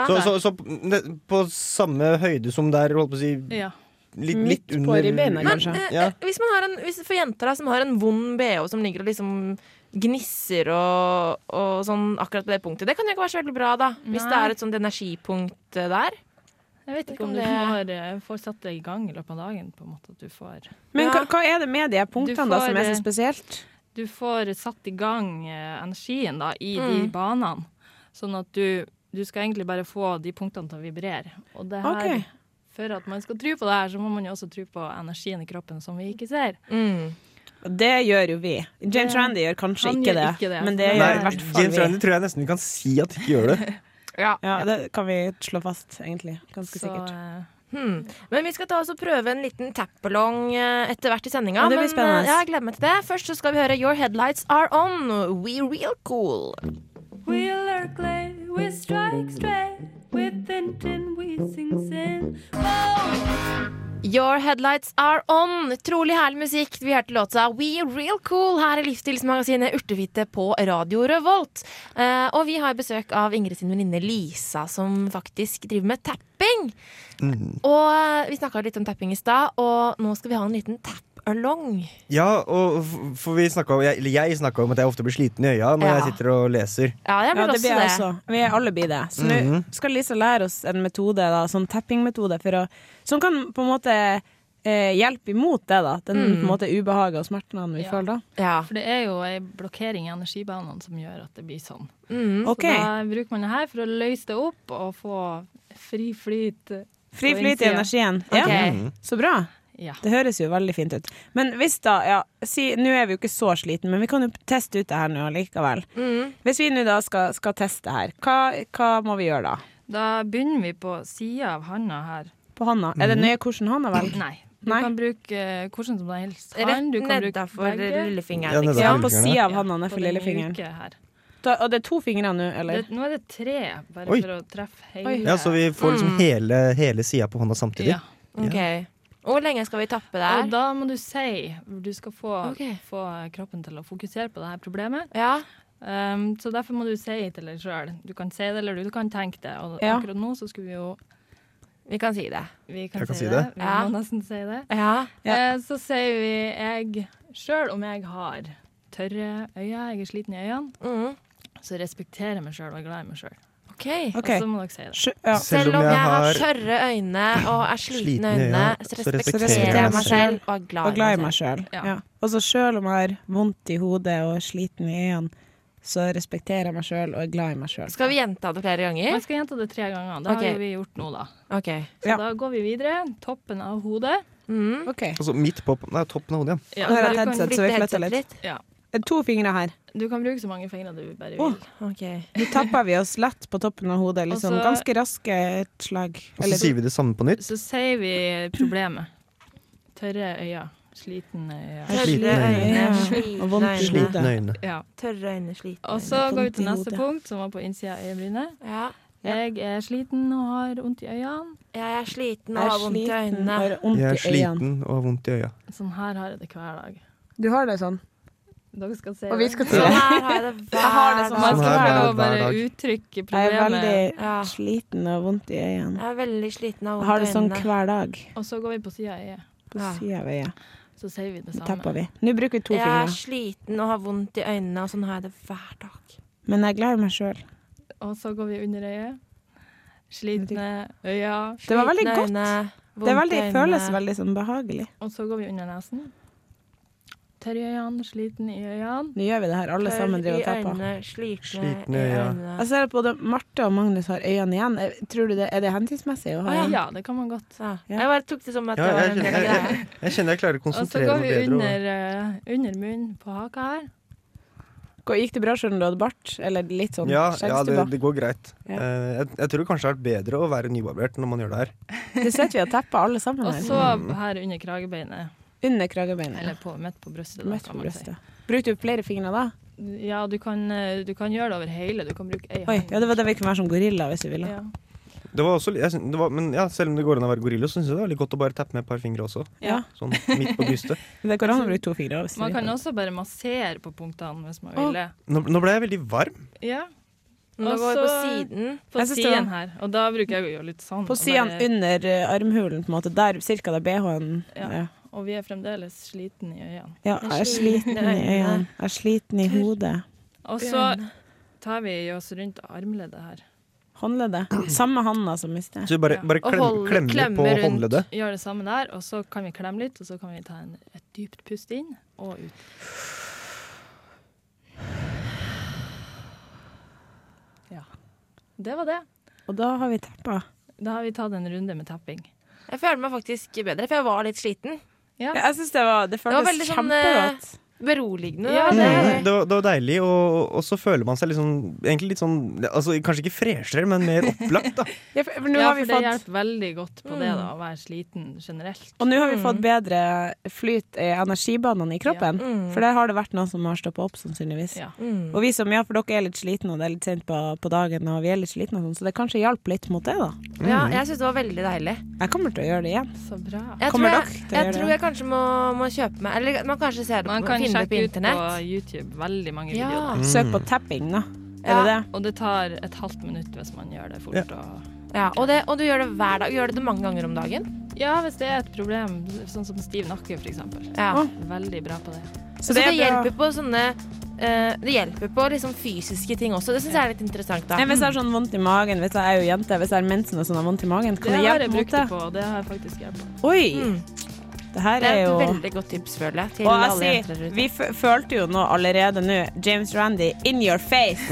Speaker 6: Så, så, så p- det, på samme høyde som der, holdt på å si,
Speaker 2: Ja.
Speaker 6: litt,
Speaker 7: Midt
Speaker 6: litt
Speaker 7: på
Speaker 6: under
Speaker 7: ribbeina,
Speaker 5: Men
Speaker 7: kanskje.
Speaker 5: eh,
Speaker 6: Ja.
Speaker 5: eh, hvis man har en, hvis for jenter da, som har en vond bh som ligger og liksom gnisser og, og sånn akkurat på det punktet, det kan jo ikke være så veldig bra, da. Hvis det
Speaker 2: Nei.
Speaker 5: er et sånt energipunkt eh, der.
Speaker 2: Jeg vet ikke om du får, eh, får satt deg i gang i løpet av dagen. på en måte at Du får,
Speaker 7: Men hva,
Speaker 5: Ja.
Speaker 7: hva er det med de punktene da
Speaker 2: får,
Speaker 7: som er
Speaker 2: eh,
Speaker 7: så spesielt?
Speaker 2: du får satt i gang eh, energien da, i de
Speaker 5: Mm.
Speaker 2: banene. Sånn at du, du skal egentlig bare få de punktene til å vibrere. Og det her,
Speaker 7: Ok.
Speaker 2: For at man skal tro på det her, så må man jo også tro på energien i kroppen som vi ikke ser.
Speaker 5: Mm.
Speaker 7: Det gjør jo vi. James Randy gjør kanskje
Speaker 2: han
Speaker 7: ikke,
Speaker 2: gjør
Speaker 7: det,
Speaker 2: ikke det.
Speaker 7: men det
Speaker 2: Nei,
Speaker 6: Nei,
Speaker 7: gjør i hvert fall
Speaker 6: James
Speaker 7: vi.
Speaker 6: Randy tror jeg nesten vi kan si at ikke gjør det.
Speaker 5: Ja.
Speaker 7: Ja, det kan vi slå fast, egentlig. Ganske
Speaker 2: Så
Speaker 7: sikkert.
Speaker 2: eh,
Speaker 5: Hmm. Men vi skal ta oss og prøve en liten tappalong eh, etter hvert i sendinga.
Speaker 7: Ja, det blir
Speaker 5: men,
Speaker 7: spennende.
Speaker 5: eh, Ja, jeg gleder meg til det. Først så skal vi høre Your Headlights Are On, We Real Cool.
Speaker 11: We lurk lay, we strike straight, with intent we sing sin.
Speaker 5: Your Headlights Are On. Trolig herlig musikk. Vi hørte låta We Real Cool her i livsstilsmagasinet Urtefitte på Radio Revolt. Eh, og vi har besøk av Ingrid sin venninne Lisa, som faktisk driver med tapping. Og eh, vi snakka litt om tapping i stad, og nå skal vi ha en liten tap-along.
Speaker 6: Ja, og f- for vi snakket om, jeg, eller jeg snakka om at jeg ofte blir sliten i øya når
Speaker 5: Ja.
Speaker 6: jeg sitter og leser.
Speaker 5: Ja, jeg blir
Speaker 7: Ja, det
Speaker 5: også
Speaker 7: blir
Speaker 5: det.
Speaker 7: jeg også. Vi er alle blir det. Så nå
Speaker 6: Mhm.
Speaker 7: skal Lisa lære oss en metode, da, sånn tappingmetode, for å- som kan på en måte eh, hjelpe imot det, da. Den på en måte ubehaget og smertene vi
Speaker 2: Mm. Ja.
Speaker 7: føler da.
Speaker 5: Ja.
Speaker 2: For det er jo ei blokkering i energibanene som gjør at det blir sånn.
Speaker 5: Mm.
Speaker 7: OK.
Speaker 2: Så da bruker man det her for å løse det opp og få fri flyt. eh,
Speaker 7: Fri
Speaker 2: på
Speaker 7: flyt i
Speaker 2: innsida.
Speaker 7: energien.
Speaker 5: Ok.
Speaker 7: Ja. Så bra.
Speaker 2: Ja.
Speaker 7: Det høres jo veldig fint ut. Men hvis da, ja, si, nå er vi jo ikke så sliten, men vi kan jo teste ut det her nå likevel.
Speaker 5: Mm.
Speaker 7: Hvis vi nå da skal, skal teste her, hva, hva må vi gjøre da?
Speaker 2: Da begynner vi på sida av handa her.
Speaker 7: På handa? Er
Speaker 6: Mm.
Speaker 7: det nøye hvordan handa velger?
Speaker 2: Nei. Du
Speaker 7: Nei.
Speaker 2: kan bruke eh, hvordan som helst hand. Du
Speaker 5: Rett
Speaker 2: kan bruke
Speaker 5: nedafor
Speaker 2: begge.
Speaker 6: Ja,
Speaker 5: lillefingeren.
Speaker 6: nedover.
Speaker 5: Liksom.
Speaker 7: Ja,
Speaker 6: Ja,
Speaker 7: på
Speaker 6: fingrene.
Speaker 7: sida av handa
Speaker 2: Ja, på
Speaker 7: nedfor
Speaker 2: den
Speaker 7: lillefingeren.
Speaker 2: mjuke her.
Speaker 7: Da, og det er to fingre nå, eller?
Speaker 2: Det, nå er det tre, bare
Speaker 6: Oi.
Speaker 2: for å treffe hele
Speaker 7: Oi.
Speaker 6: Ja, Så vi får liksom hele, hele sida på hånda samtidig.
Speaker 2: Ja.
Speaker 5: liksom. Ok. Hvor lenge skal vi tappe der?
Speaker 2: Og da må du si Du skal få,
Speaker 5: Ok.
Speaker 2: få kroppen til å fokusere på det her problemet.
Speaker 5: Ja.
Speaker 2: Um, så derfor må du si til deg sjøl. Du kan si det, eller du kan tenke det. Og
Speaker 7: Ja.
Speaker 2: akkurat nå så skulle vi jo
Speaker 5: Vi kan si det.
Speaker 2: Vi kan,
Speaker 6: Jeg kan
Speaker 2: si
Speaker 6: si
Speaker 2: det.
Speaker 6: det.
Speaker 2: Vi
Speaker 5: Ja.
Speaker 2: må nesten si det.
Speaker 5: Ja.
Speaker 2: Eh, så sier vi jeg Sjøl om jeg har tørre øyne, jeg er sliten i øynene,
Speaker 5: Mm.
Speaker 2: så respekterer jeg meg sjøl og er glad i meg sjøl.
Speaker 5: OK.
Speaker 7: OK.
Speaker 2: Og så må dere si det.
Speaker 7: Sjø, ja.
Speaker 5: Selv om jeg har tørre øyne og er slitne
Speaker 6: Slitne
Speaker 5: øyne,
Speaker 6: øyne,
Speaker 5: så
Speaker 6: så
Speaker 5: respekterer
Speaker 7: respekterer
Speaker 5: jeg
Speaker 7: jeg
Speaker 5: meg
Speaker 7: meg
Speaker 5: selv og er glad,
Speaker 7: Og glad i meg sjøl.
Speaker 2: altså, Ja.
Speaker 7: Ja. Og så sjøl om jeg har vondt i hodet og er sliten i øynene, så respekterer jeg meg sjøl og er glad i meg sjøl.
Speaker 5: Skal vi gjenta det flere ganger?
Speaker 2: Jeg skal gjenta det tre ganger. Det
Speaker 5: Ok.
Speaker 2: har jo vi gjort nå, da.
Speaker 5: OK.
Speaker 2: Så
Speaker 7: Ja.
Speaker 2: da går vi videre. Toppen av hodet.
Speaker 5: Mm.
Speaker 7: OK.
Speaker 6: Altså midt på Nei, toppen av hodet, ja.
Speaker 7: Nå
Speaker 2: Ja,
Speaker 7: har jeg
Speaker 2: du,
Speaker 7: et
Speaker 2: kan,
Speaker 7: headset, så vi
Speaker 5: Flytte
Speaker 7: flytter
Speaker 5: headsetet
Speaker 7: litt.
Speaker 5: litt.
Speaker 7: Det er To fingre her.
Speaker 2: du kan bruke så mange fingre du
Speaker 7: Å,
Speaker 2: bare vil.
Speaker 5: OK.
Speaker 7: Nå tapper vi oss lett på toppen av hodet. Liksom.
Speaker 2: Og så-
Speaker 7: Ganske raske slag.
Speaker 6: Og så sier vi det samme på nytt.
Speaker 2: Så sier vi problemet. Tørre øyne. Slitne øyne.
Speaker 5: Tørre
Speaker 6: Slitne øyne.
Speaker 5: øyne,
Speaker 7: Og
Speaker 5: slitne
Speaker 7: vondt i
Speaker 5: øyne.
Speaker 7: hodet.
Speaker 6: Slitne øyne.
Speaker 2: Ja.
Speaker 5: Tørre øyne, slitne
Speaker 2: Og
Speaker 5: øyne.
Speaker 2: så går vi til
Speaker 7: Vondt i
Speaker 2: neste
Speaker 7: hodet.
Speaker 2: punkt, som var på innsida av øyebrynet.
Speaker 5: Ja.
Speaker 2: Jeg er sliten og har vondt i øynene.
Speaker 5: Jeg er sliten og
Speaker 7: Jeg
Speaker 5: har
Speaker 7: er
Speaker 5: vondt i
Speaker 7: sliten,
Speaker 5: øynene.
Speaker 7: har
Speaker 6: Jeg
Speaker 7: vondt i
Speaker 6: er
Speaker 7: øynene.
Speaker 6: sliten og har vondt i øya.
Speaker 2: Sånn her har jeg det hver dag.
Speaker 7: Du har det sånn.
Speaker 2: Dere skal se
Speaker 7: Og vi skal si
Speaker 5: Sånn
Speaker 7: det.
Speaker 5: her har jeg det
Speaker 7: Jeg har det
Speaker 5: hver
Speaker 7: som
Speaker 2: Man
Speaker 6: Sånn
Speaker 5: dag.
Speaker 2: skal
Speaker 6: her
Speaker 2: prøve
Speaker 6: er
Speaker 2: å
Speaker 6: det hver
Speaker 2: bare
Speaker 6: dag.
Speaker 2: uttrykke
Speaker 7: Jeg er
Speaker 2: problemet.
Speaker 7: veldig
Speaker 5: Ja.
Speaker 7: sliten og vondt i øynene.
Speaker 5: Jeg er veldig sliten og har
Speaker 7: Jeg har det
Speaker 5: vondt i
Speaker 7: sånn
Speaker 5: øynene.
Speaker 7: hver dag.
Speaker 2: Og så går vi på sida av øyet.
Speaker 7: På
Speaker 5: Ja.
Speaker 7: sida av øyet.
Speaker 2: Så sier vi det
Speaker 7: Så
Speaker 2: samme.
Speaker 7: tapper vi. Nå bruker vi to
Speaker 5: Jeg er
Speaker 7: fingre.
Speaker 5: sliten og har vondt i øynene, og sånn har jeg det hver dag.
Speaker 7: Men jeg er glad i meg sjøl.
Speaker 2: Og så går vi under øyet. Slitne øyne.
Speaker 7: Det var veldig
Speaker 5: Slitne
Speaker 7: godt.
Speaker 5: øyne,
Speaker 7: Det er
Speaker 5: vondt
Speaker 7: veldig,
Speaker 5: i øynene.
Speaker 7: føles veldig sånn behagelig.
Speaker 2: Og så går vi under nesen. Tørr i øynene, sliten i øynene.
Speaker 7: Nå gjør vi det her, alle
Speaker 5: Tørr
Speaker 7: sammen driver
Speaker 5: i
Speaker 7: og Altså, tapper.
Speaker 5: øynene, Slitne
Speaker 6: Slitne,
Speaker 5: i
Speaker 6: ja.
Speaker 5: øynene.
Speaker 7: Jeg ser at både Marte og Magnus har øynene igjen. Eh, Tror du det, Er det hensiktsmessig å ha
Speaker 2: Ja.
Speaker 7: øynene?
Speaker 2: det kan man godt.
Speaker 5: Ja.
Speaker 7: Ja.
Speaker 5: Jeg bare tok det som at
Speaker 6: Ja,
Speaker 5: det var
Speaker 6: jeg,
Speaker 5: en
Speaker 6: kjenner,
Speaker 5: del av
Speaker 6: jeg,
Speaker 5: greia.
Speaker 6: jeg, jeg kjenner jeg klarer å
Speaker 2: Og så
Speaker 6: konsentrere
Speaker 2: går
Speaker 6: meg
Speaker 2: vi
Speaker 6: bedre.
Speaker 2: under, eh, under munnen på haka her.
Speaker 7: Gå- Gikk det bra selv om du hadde bart? Eller litt sånn
Speaker 6: Ja, ja det,
Speaker 7: skjeggstubba?
Speaker 6: det går greit.
Speaker 7: Ja.
Speaker 6: Eh, jeg, jeg tror kanskje det er bedre å være nybarbert når man gjør det her.
Speaker 7: Det sitter vi og tepper alle sammen
Speaker 2: Og
Speaker 7: her.
Speaker 2: så her under kragebeinet.
Speaker 7: Under kragebeinet.
Speaker 2: Eller på, midt på brystet. da,
Speaker 7: Midt
Speaker 2: kan
Speaker 7: på
Speaker 2: man si.
Speaker 7: brystet. Brukte du flere fingre da?
Speaker 2: Ja, du kan, eh, du kan gjøre det over hele. Du kan bruke ei
Speaker 7: Oi,
Speaker 2: hånd.
Speaker 7: ja, det var det vi kunne være som gorilla hvis vi ville.
Speaker 2: Ja.
Speaker 6: Det var også, jeg, syn- det var, men ja, Selv om det går an å være gorilla, så syns jeg det er litt godt å bare tappe med et par fingre også.
Speaker 7: Ja.
Speaker 6: Sånn midt på brystet.
Speaker 7: Det går an å bruke to fingre hvis vi
Speaker 2: Man kan
Speaker 7: vil.
Speaker 2: også bare massere på punktene hvis man
Speaker 7: Å.
Speaker 2: vil det.
Speaker 6: Nå, nå ble jeg veldig varm.
Speaker 2: Ja,
Speaker 5: Nå
Speaker 2: Og
Speaker 5: går vi på
Speaker 2: så-
Speaker 5: siden.
Speaker 2: på
Speaker 7: Jeg synes det var-
Speaker 2: siden her. Og da bruker jeg å gjøre litt sånn.
Speaker 7: På
Speaker 2: og
Speaker 7: siden
Speaker 2: bare-
Speaker 7: under eh, armhulen, på en måte. Der, cirka der BH-en
Speaker 2: Ja.
Speaker 7: ja.
Speaker 2: Og vi er fremdeles sliten i øynene.
Speaker 7: Ja, jeg er sliten i øynene. Jeg er sliten i hodet.
Speaker 2: Og så tar vi oss rundt armleddet her.
Speaker 7: Håndleddet. Samme handa som i sted.
Speaker 6: Så vi bare,
Speaker 2: Ja.
Speaker 6: bare
Speaker 5: Og
Speaker 6: klem,
Speaker 5: hold-
Speaker 6: klemmer
Speaker 5: klemme
Speaker 6: på
Speaker 5: rundt.
Speaker 6: håndleddet.
Speaker 2: Gjør det samme der, og så kan vi klemme litt, og så kan vi ta en, et dypt pust inn og ut. Ja. Det var det.
Speaker 7: Og da har vi teppa.
Speaker 2: Da har vi tatt en runde med tapping.
Speaker 5: Jeg føler meg faktisk bedre, for jeg var litt sliten.
Speaker 2: Ja.
Speaker 7: Jeg syns det var Det
Speaker 5: var
Speaker 7: føltes
Speaker 5: veldig sånn,
Speaker 7: kjempegodt.
Speaker 5: Beroligende.
Speaker 6: Ja,
Speaker 5: det er
Speaker 6: det, var, det var deilig, og, og så føler man seg liksom, egentlig litt sånn altså, Kanskje ikke freshere, men mer opplagt, da.
Speaker 7: Ja, for, for nå
Speaker 2: ja,
Speaker 7: har
Speaker 2: for
Speaker 7: vi
Speaker 2: det
Speaker 7: fått
Speaker 2: hjelper veldig godt på det,
Speaker 7: Mm.
Speaker 2: da, å være sliten generelt.
Speaker 7: Og nå har vi fått bedre flyt i energibanene i kroppen,
Speaker 2: Mm.
Speaker 7: for der har det vært noen som har stoppa opp, sannsynligvis.
Speaker 2: Ja.
Speaker 7: Og vi som, ja, for dere er litt slitne, og det er litt sent på, på dagen, og vi er litt slitne, og sånn, så det kanskje hjalp litt mot det, da.
Speaker 5: Mm. Ja, jeg syns det var veldig deilig.
Speaker 7: Jeg kommer til å gjøre det igjen.
Speaker 2: Så bra.
Speaker 5: Jeg
Speaker 7: Kommer
Speaker 5: tror
Speaker 7: dere
Speaker 5: jeg,
Speaker 7: til å
Speaker 5: jeg,
Speaker 7: gjøre
Speaker 5: tror
Speaker 7: det?
Speaker 5: jeg kanskje må, må kjøpe meg Eller man kanskje ser det
Speaker 2: Man
Speaker 5: på,
Speaker 2: kan
Speaker 5: finner det på
Speaker 2: sjekke ut på
Speaker 5: internett.
Speaker 2: YouTube veldig mange
Speaker 5: Ja.
Speaker 2: videoer.
Speaker 5: Mm.
Speaker 7: Søk på tapping, da.
Speaker 5: Ja.
Speaker 7: Er det det?
Speaker 2: Og det tar et halvt minutt hvis man gjør det fort. Og...
Speaker 5: Ja, og, det, og du gjør det hver dag. Gjør du det mange ganger om dagen?
Speaker 2: Ja, hvis det er et problem, sånn som stiv nakke f.eks.
Speaker 5: Ja.
Speaker 2: Veldig bra på det.
Speaker 5: Så det,
Speaker 7: er bra.
Speaker 5: hjelper på sånne eh, Det hjelper på liksom fysiske ting også. Det syns jeg er litt interessant, da.
Speaker 7: Nei, hvis jeg har sånn vondt i magen, vet du, jeg er jo jente, hvis jeg har mensen og sånn har vondt i magen, kan
Speaker 2: Det
Speaker 7: det
Speaker 2: har
Speaker 7: hjelpe
Speaker 2: jeg
Speaker 7: mot
Speaker 2: brukt
Speaker 7: det?
Speaker 2: det på, og det har jeg faktisk hjulpet.
Speaker 7: Oi!
Speaker 5: Mm.
Speaker 7: Det her
Speaker 5: Det
Speaker 7: er
Speaker 5: er
Speaker 7: jo
Speaker 5: et veldig godt tips, føler jeg. Til
Speaker 7: Og
Speaker 5: alle
Speaker 7: jeg
Speaker 5: jenter
Speaker 7: sier,
Speaker 5: der ute.
Speaker 7: vi f følte jo nå allerede nå James Randy in your face.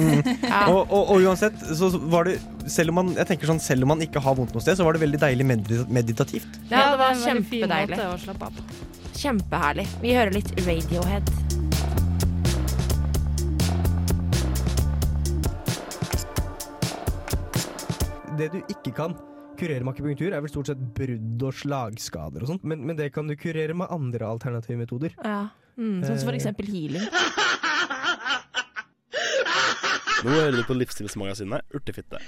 Speaker 5: Ja.
Speaker 6: Og, og, og uansett, så var det selv om, man, jeg tenker sånn, selv om man ikke har vondt noe sted, så var det veldig deilig medit meditativt.
Speaker 5: Ja, det var
Speaker 2: er en veldig fin
Speaker 5: kjempedeilig.
Speaker 2: måte å slappe av på.
Speaker 5: Kjempeherlig. Vi hører litt Radiohead.
Speaker 4: Det du ikke kan kurere med akupunktur, er vel stort sett brudd og slagskader og sånn, men, men det kan du kurere med andre alternative metoder.
Speaker 5: Ja. Mm, sånn som for eksempel healing.
Speaker 9: Nå hører du på Livsstilsmagasinet Urtefitte.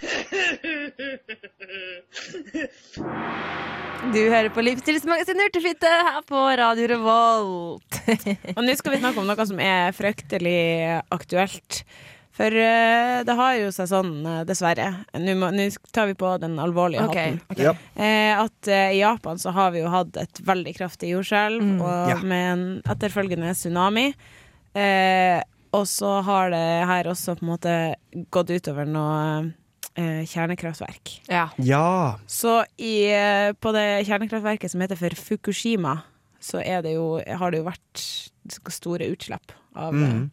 Speaker 5: Du hører på Livsstilsmagasinet Urtefitte her på Radio Revolt.
Speaker 7: Og nå skal vi snakke om noe som er fryktelig aktuelt. For eh, det har jo seg sånn, eh, dessverre. Nå må- nå tar vi på den alvorlige
Speaker 5: Ok,
Speaker 7: hatten. Eh, at eh, i Japan så har vi jo hatt et veldig kraftig jordskjelv, og
Speaker 6: Mm. Ja.
Speaker 7: med en etterfølgende tsunami. Eh, og så har det her også på en måte gått utover noe eh, kjernekraftverk.
Speaker 5: Ja.
Speaker 6: Ja!
Speaker 7: Så i, eh, på det kjernekraftverket som heter for Fukushima, så er det jo, har det jo vært store utslipp av
Speaker 6: Mm.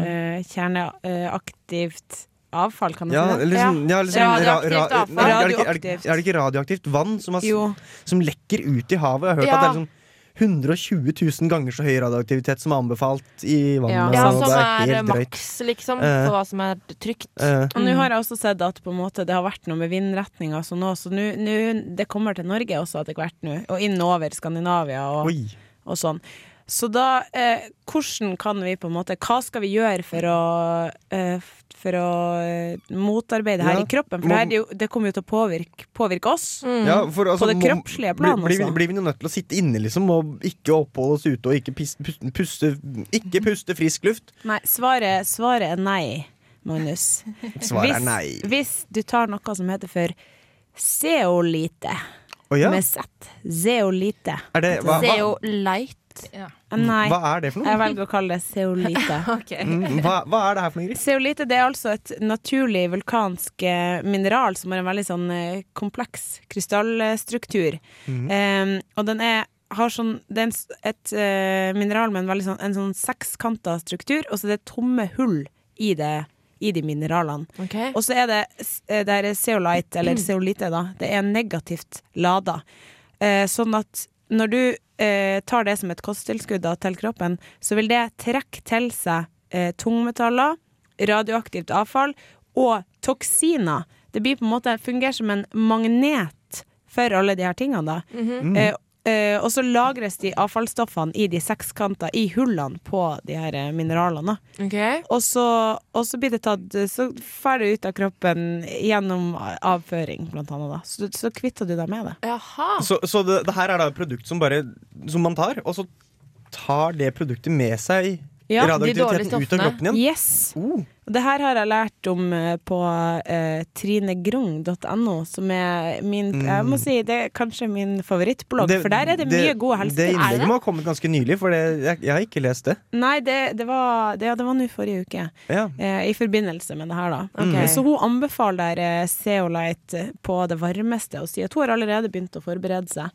Speaker 7: eh, kjerneaktivt avfall, kan man
Speaker 6: ja,
Speaker 7: si det?
Speaker 6: liksom, ja. liksom
Speaker 5: Radioaktivt
Speaker 6: ra- ra-
Speaker 5: avfall.
Speaker 6: nei, er, det ikke, er, det,
Speaker 7: Radioaktivt.
Speaker 6: er det ikke radioaktivt vann som, har,
Speaker 7: Jo.
Speaker 6: som lekker ut i havet? Jeg har hørt
Speaker 5: Ja.
Speaker 6: at det er liksom 120 000 ganger så høy radioaktivitet som er anbefalt i vannet.
Speaker 7: Ja.
Speaker 5: ja,
Speaker 6: så
Speaker 5: som
Speaker 6: det
Speaker 5: er eh,
Speaker 6: helt drøyt.
Speaker 5: maks, liksom,
Speaker 6: Eh.
Speaker 5: på hva som er trygt.
Speaker 6: Eh,
Speaker 7: Og nå har jeg også sett at på en måte det har vært noe med vindretninga, så nå, så nå- nå- det kommer til Norge også etter hvert nå, og innover Skandinavia og,
Speaker 6: oi.
Speaker 7: og sånn. Så da, eh, hvordan kan vi på en måte Hva skal vi gjøre for å, eh, f- for å eh, motarbeide det her
Speaker 6: Ja,
Speaker 7: i kroppen? For
Speaker 6: må-
Speaker 7: det, her, er jo- det kommer jo til å påvirke, påvirke oss.
Speaker 6: Ja, for, altså,
Speaker 7: det
Speaker 6: må-
Speaker 7: kroppslige plan
Speaker 6: blir, blir,
Speaker 7: også.
Speaker 6: blir vi nå nødt til å sitte inne liksom, og ikke oppholde oss ute og ikke pis- puste, puste, ikke puste frisk luft?
Speaker 7: Nei, svaret, svaret er nei, Magnus.
Speaker 6: Svaret er nei.
Speaker 7: Hvis du tar noe som heter for zeolite
Speaker 6: Å ja?
Speaker 7: med Z, zeolite
Speaker 6: Er det, hva,
Speaker 5: Det er
Speaker 6: hva,
Speaker 5: jo light.
Speaker 2: Ja.
Speaker 7: Nei,
Speaker 6: hva er det for noe?
Speaker 7: jeg velger å kalle det zeolite.
Speaker 6: Mm, Hva, hva er det her for noe, Ingrid?
Speaker 7: Zeolite det er altså et naturlig vulkansk eh, mineral som har en veldig sånn eh, kompleks krystallstruktur. Eh, og den er, har sånn, det er en, s- et eh, mineral med en veldig sånn, en sånn sekskanta struktur, og så er det tomme hull i, det, i de mineralene.
Speaker 5: Ok.
Speaker 7: Og så er det, s- eh, det her er zeolite, eller zeolite, da. Det er negativt lada. Eh, sånn at når du eh, tar det som et kosttilskudd da, til kroppen, så vil det trekke til seg eh, tungmetaller, radioaktivt avfall og toksiner. Det blir på en måte fungerer som en magnet for alle de her tingene. Da. eh, eh, og så lagres de avfallsstoffene i de sekskanta, i hullene på de her eh, mineralene. da.
Speaker 5: Ok.
Speaker 7: Og så, og så blir det tatt Så fer det ut av kroppen gjennom avføring, blant annet. Da. Så, så kvitter du deg med det.
Speaker 5: Jaha.
Speaker 6: Så, så det, det her er da et produkt som, bare, som man tar, og så tar det produktet med seg
Speaker 7: Ja, de
Speaker 5: dårlige
Speaker 6: radioaktiviteten ut av
Speaker 5: stoffene.
Speaker 6: kroppen igjen?
Speaker 7: Yes!
Speaker 6: Oh,
Speaker 7: Og Det her har jeg lært om eh, på eh, trinegrung.no, som er min Jeg må si det er kanskje min favorittblogg, for der er Mm. det, mye gode
Speaker 6: Det
Speaker 7: helsetips.
Speaker 6: innlegget må ha kommet ganske nylig, for det, jeg, jeg har ikke lest det.
Speaker 7: Nei, det, det var det, ja, det var nå forrige uke.
Speaker 6: Ja.
Speaker 7: eh, i forbindelse med det her, da.
Speaker 5: Ok.
Speaker 7: Så hun anbefaler eh, Zeolite på det varmeste og sier at hun har allerede begynt å forberede seg.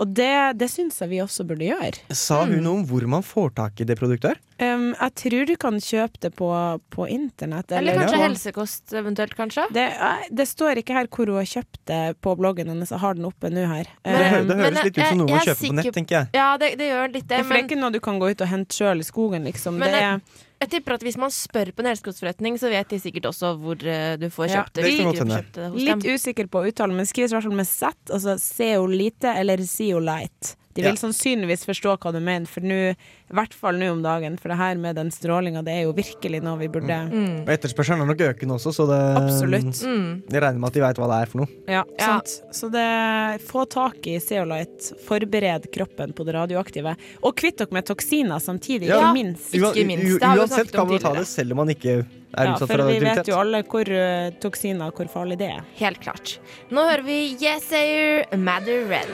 Speaker 7: Og det, det syns jeg vi også burde gjøre. Mm.
Speaker 6: Sa hun noe om hvor man får tak i det produktet her?
Speaker 7: Um, jeg tror du kan kjøpe det på, på internett.
Speaker 5: Eller kanskje helsekost eventuelt, kanskje?
Speaker 7: Det, eh, det står ikke her hvor hun har kjøpt det på bloggen hennes. Jeg har den oppe nå her.
Speaker 5: Men-
Speaker 7: Eh,
Speaker 5: Det hø- det høres men litt ut som jeg- noe man jeg er kjøper på nett, sikker-
Speaker 6: tenker jeg.
Speaker 5: Ja, det, det gjør litt det.
Speaker 7: for det er ikke noe du kan gå ut og hente sjøl i skogen, liksom.
Speaker 5: Men
Speaker 7: det
Speaker 5: jeg,
Speaker 7: er
Speaker 5: jeg tipper at hvis man spør på en helsekostforretning, så vet de sikkert også hvor eh, du får
Speaker 7: Ja,
Speaker 5: kjøpt det.
Speaker 7: det kan
Speaker 5: hvis
Speaker 7: godt
Speaker 5: du
Speaker 7: hende.
Speaker 5: kjøpte det hos
Speaker 7: Litt
Speaker 5: dem.
Speaker 7: usikker på uttalen, men skrives i hvert fall med Z. Altså zeolite eller zeolite. De vil
Speaker 5: Ja.
Speaker 7: sannsynligvis forstå hva du mener, for nå, i hvert fall nå om dagen. For det her med den strålinga, det er jo virkelig noe vi burde
Speaker 6: Og etterspørselen er nok økende også, så det
Speaker 7: Mm. Absolutt. Mm.
Speaker 6: Jeg regner med at de veit hva det er for noe.
Speaker 7: Ja, sant. Så det, få tak i zeolite, forbered kroppen på det radioaktive, og kvitt dere med toksiner samtidig,
Speaker 6: Ja.
Speaker 7: ikke minst.
Speaker 6: Ua- u- Uansett kan man ta det selv om man ikke er
Speaker 7: Ja,
Speaker 6: utsatt for
Speaker 7: for vi vet
Speaker 6: radioaktivitet.
Speaker 7: jo alle hvor eh, toksiner, hvor farlig det er.
Speaker 5: Helt klart. Nå hører vi Yes Ayer, Madder Red.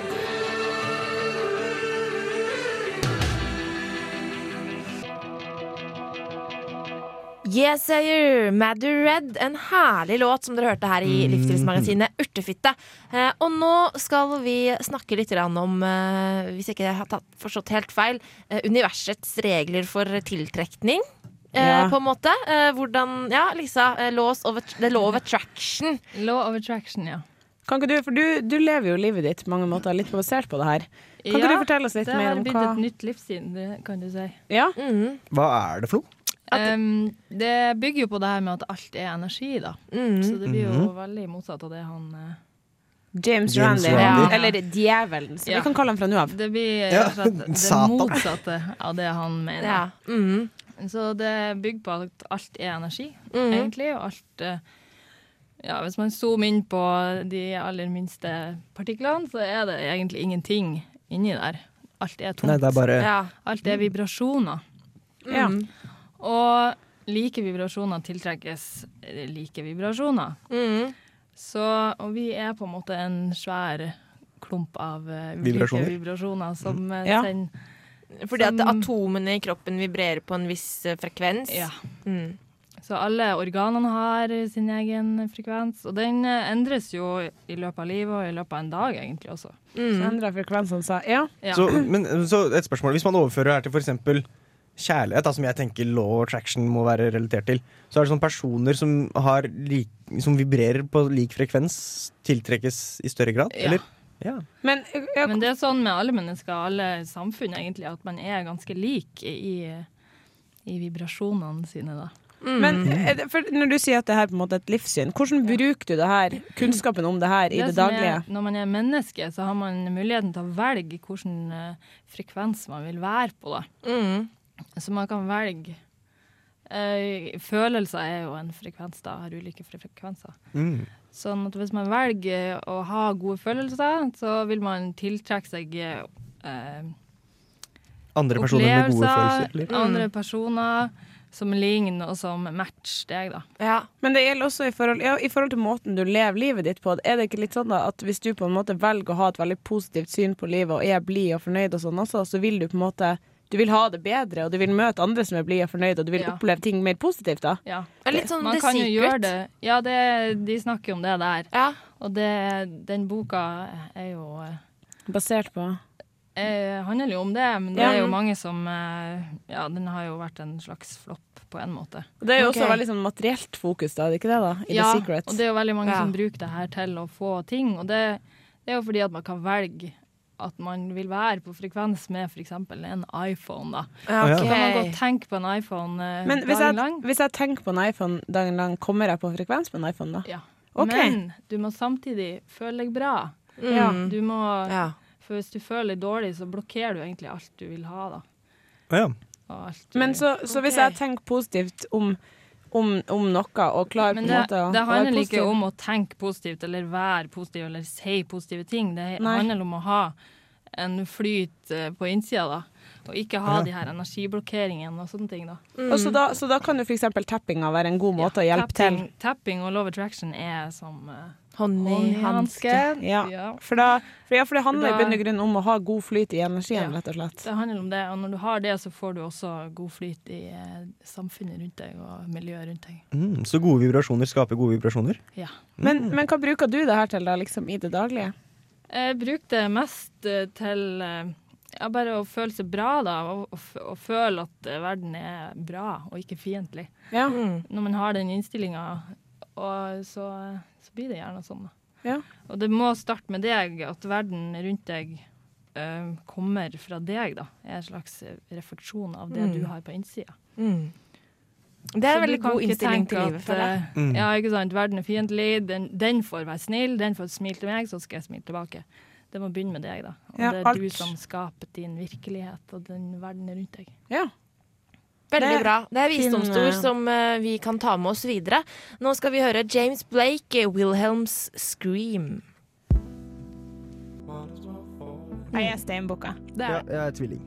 Speaker 5: Yes Ayer, Madder Red. En herlig låt som dere hørte her i Livsstilsmagasinet Urtefitte. Eh, og nå skal vi snakke litt grann om, eh, hvis jeg ikke har tatt, forstått helt feil, eh, universets regler for tiltrekning. Eh,
Speaker 2: Ja.
Speaker 5: På en måte. Eh, hvordan Ja, Lisa. Eh, laws of att- the law of attraction.
Speaker 2: Law of attraction, ja.
Speaker 7: Kan ikke du, for du, du lever jo livet ditt på mange måter litt basert på det her. Kan ikke
Speaker 2: Ja,
Speaker 7: du fortelle oss litt
Speaker 2: det
Speaker 7: mer om
Speaker 2: Det
Speaker 7: hva
Speaker 2: har blitt et nytt livssyn, det kan du si.
Speaker 7: Ja.
Speaker 6: Hva er det for noe?
Speaker 2: Um, det bygger jo på det her med at alt er energi, da. Så det blir jo veldig motsatt av det han eh,
Speaker 7: James,
Speaker 2: James
Speaker 7: Randi,
Speaker 2: Randi.
Speaker 7: eller Djevelen, som
Speaker 2: Ja.
Speaker 7: vi kan kalle ham fra nå av.
Speaker 2: Det blir
Speaker 7: Ja,
Speaker 2: rett og slett det
Speaker 7: Satan.
Speaker 2: motsatte av det han mener.
Speaker 5: Ja, Mm.
Speaker 2: Så det bygger på at alt er energi,
Speaker 5: Mhm.
Speaker 2: egentlig. Og alt eh, Ja, hvis man zoomer inn på de aller minste partiklene, så er det egentlig ingenting inni der. Alt er tomt.
Speaker 4: Nei, det er bare-
Speaker 2: ja. Alt er vibrasjoner.
Speaker 7: Ja.
Speaker 2: Mhm. Og like vibrasjoner tiltrekkes eh, like vibrasjoner.
Speaker 5: Mhm.
Speaker 2: Så, og vi er på en måte en svær klump av eh, ulike
Speaker 5: Vibrasjoner.
Speaker 2: vibrasjoner som eh,
Speaker 5: Ja.
Speaker 2: sender
Speaker 5: Fordi at
Speaker 2: Som-
Speaker 5: atomene i kroppen vibrerer på en viss eh, frekvens.
Speaker 2: Ja.
Speaker 5: Mm.
Speaker 2: Så alle organene har sin egen frekvens, og den eh, endres jo i løpet av livet og i løpet av en dag, egentlig også.
Speaker 7: Så endra frekvensene seg. Ja.
Speaker 6: Så, men, så et spørsmål. Hvis man overfører det her til f.eks. kjærlighet, da, som jeg tenker law of attraction må være relatert til, så er det sånn personer som, har lik, som vibrerer på lik frekvens, tiltrekkes i større grad?
Speaker 2: Ja.
Speaker 6: Eller? Ja.
Speaker 7: Men, eh,
Speaker 2: det er sånn med alle mennesker, alle samfunn egentlig, at man er ganske lik i, i vibrasjonene sine, da.
Speaker 7: Men er det- for når du sier at det her på en måte er et livssyn, hvordan bruker du det her, kunnskapen om det her i det,
Speaker 2: som
Speaker 7: daglige?
Speaker 2: Er, når man er menneske, så har man muligheten til å velge hvilken eh, frekvens man vil være på. Da.
Speaker 5: Mm.
Speaker 2: Så man kan velge eh, Følelser er jo en frekvens, da, har ulike fre- frekvenser.
Speaker 6: Mm.
Speaker 2: Sånn at hvis man velger å ha gode følelser, så vil man tiltrekke seg eh,
Speaker 6: Andre personer med gode følelser? liksom. eller?
Speaker 2: andre
Speaker 5: Mm.
Speaker 2: personer som ligner og som matcher deg, da.
Speaker 7: Men det gjelder også i forhold, ja, i forhold til måten du lever livet ditt på. Er det ikke litt sånn da at hvis du på en måte velger å ha et veldig positivt syn på livet og er blid og fornøyd og sånn også, så vil du på en måte du vil ha det bedre, og du vil møte andre som er blide og fornøyde, og du vil
Speaker 2: Ja.
Speaker 7: oppleve ting mer positivt da?
Speaker 2: Ja.
Speaker 5: Det er litt sånn
Speaker 2: Man
Speaker 5: The
Speaker 2: kan jo
Speaker 5: Secret.
Speaker 2: gjøre det. Ja, det, de snakker jo om det der. Og det, den boka er jo
Speaker 7: Basert på
Speaker 2: eh, handler jo om det, men det
Speaker 7: Ja.
Speaker 2: er jo mange som eh, Ja, den har jo vært en slags flopp på en måte.
Speaker 7: Og det er jo også veldig sånn materielt fokus, da, er det ikke det? da? I
Speaker 2: ja,
Speaker 7: The Secret.
Speaker 2: og det er jo veldig mange
Speaker 7: Ja.
Speaker 2: som bruker det her til å få ting. Og det, det er jo fordi at man kan velge at man vil være på frekvens med f.eks. en iPhone. da.
Speaker 7: Ja,
Speaker 2: Så kan man
Speaker 7: ok.
Speaker 2: godt tenke på en iPhone eh,
Speaker 7: Men hvis jeg,
Speaker 2: dagen lang.
Speaker 7: hvis jeg tenker på en iPhone dagen lang, kommer jeg på frekvens på en iPhone da?
Speaker 2: Ja.
Speaker 7: Ok.
Speaker 2: Men du må samtidig føle deg bra.
Speaker 7: Mm. Ja.
Speaker 2: Du må,
Speaker 7: Ja.
Speaker 2: For hvis du føler deg dårlig, så blokkerer du egentlig alt du vil ha. da. Og alt du-
Speaker 7: Men så, så hvis
Speaker 2: Ok.
Speaker 7: jeg tenker positivt om, om, om noe, og klarer på
Speaker 2: Men
Speaker 7: en
Speaker 2: det,
Speaker 7: måte å
Speaker 2: det
Speaker 7: å være
Speaker 2: handler ikke
Speaker 7: positiv-
Speaker 2: om å tenke positivt eller være positiv eller si positive ting. Det
Speaker 7: Nei.
Speaker 2: handler om å ha en flyt eh, på innsida, da. Og ikke ha
Speaker 7: Ja.
Speaker 2: de her energiblokkeringene og sånne ting, da.
Speaker 7: Og så, da, så da kan jo f.eks. tappinga være en god måte å hjelpe til.
Speaker 2: Tapping, tapping og love attraction er som eh, håndhanske.
Speaker 7: Ja.
Speaker 2: Ja.
Speaker 7: For, da, for, ja, for Mm. det handler
Speaker 2: Da-
Speaker 7: i bunn og grunn om å ha god flyt i energien, rett og slett.
Speaker 2: Det handler om det, og når du har det, så får du også god flyt i eh, samfunnet rundt deg og miljøet rundt deg.
Speaker 6: Mm, så gode vibrasjoner skaper gode vibrasjoner?
Speaker 2: Ja.
Speaker 7: Men, men hva bruker du det her til da, liksom, i det daglige?
Speaker 2: Jeg brukte mest eh, til eh, Ja, bare å føle seg bra, da. Og, og, f- og føle at eh, verden er bra og ikke fiendtlig.
Speaker 7: Ja.
Speaker 2: Når man har den innstillinga, så, så blir det gjerne sånn, da.
Speaker 7: Ja.
Speaker 2: Og det må starte med deg, at verden rundt deg eh, kommer fra deg, da. Er en slags refleksjon av det
Speaker 5: Mm.
Speaker 2: du har på innsida.
Speaker 5: Det er en
Speaker 2: Så du
Speaker 5: veldig
Speaker 2: kan
Speaker 5: god
Speaker 2: ikke
Speaker 5: innstilling
Speaker 2: tenke
Speaker 5: til livet,
Speaker 2: at,
Speaker 5: føler jeg.
Speaker 2: eh, Ja, ikke sant. Verden er fiendtlig. Den, den får være snill. Den får smile til meg, så skal jeg smile tilbake. Det må begynne med deg, da. Og
Speaker 7: Ja,
Speaker 2: det er
Speaker 7: alt.
Speaker 2: du som skaper din virkelighet og den verden rundt deg.
Speaker 7: Ja.
Speaker 5: Veldig
Speaker 7: Det-
Speaker 5: bra. Det er
Speaker 7: Fin,
Speaker 5: visdomsord
Speaker 7: eh,
Speaker 5: som eh, vi kan ta med oss videre. Nå skal vi høre James Blake, eh, 'Wilhelms Scream'.
Speaker 7: Jeg er steinbukka.
Speaker 9: Ja,
Speaker 4: jeg er tvilling.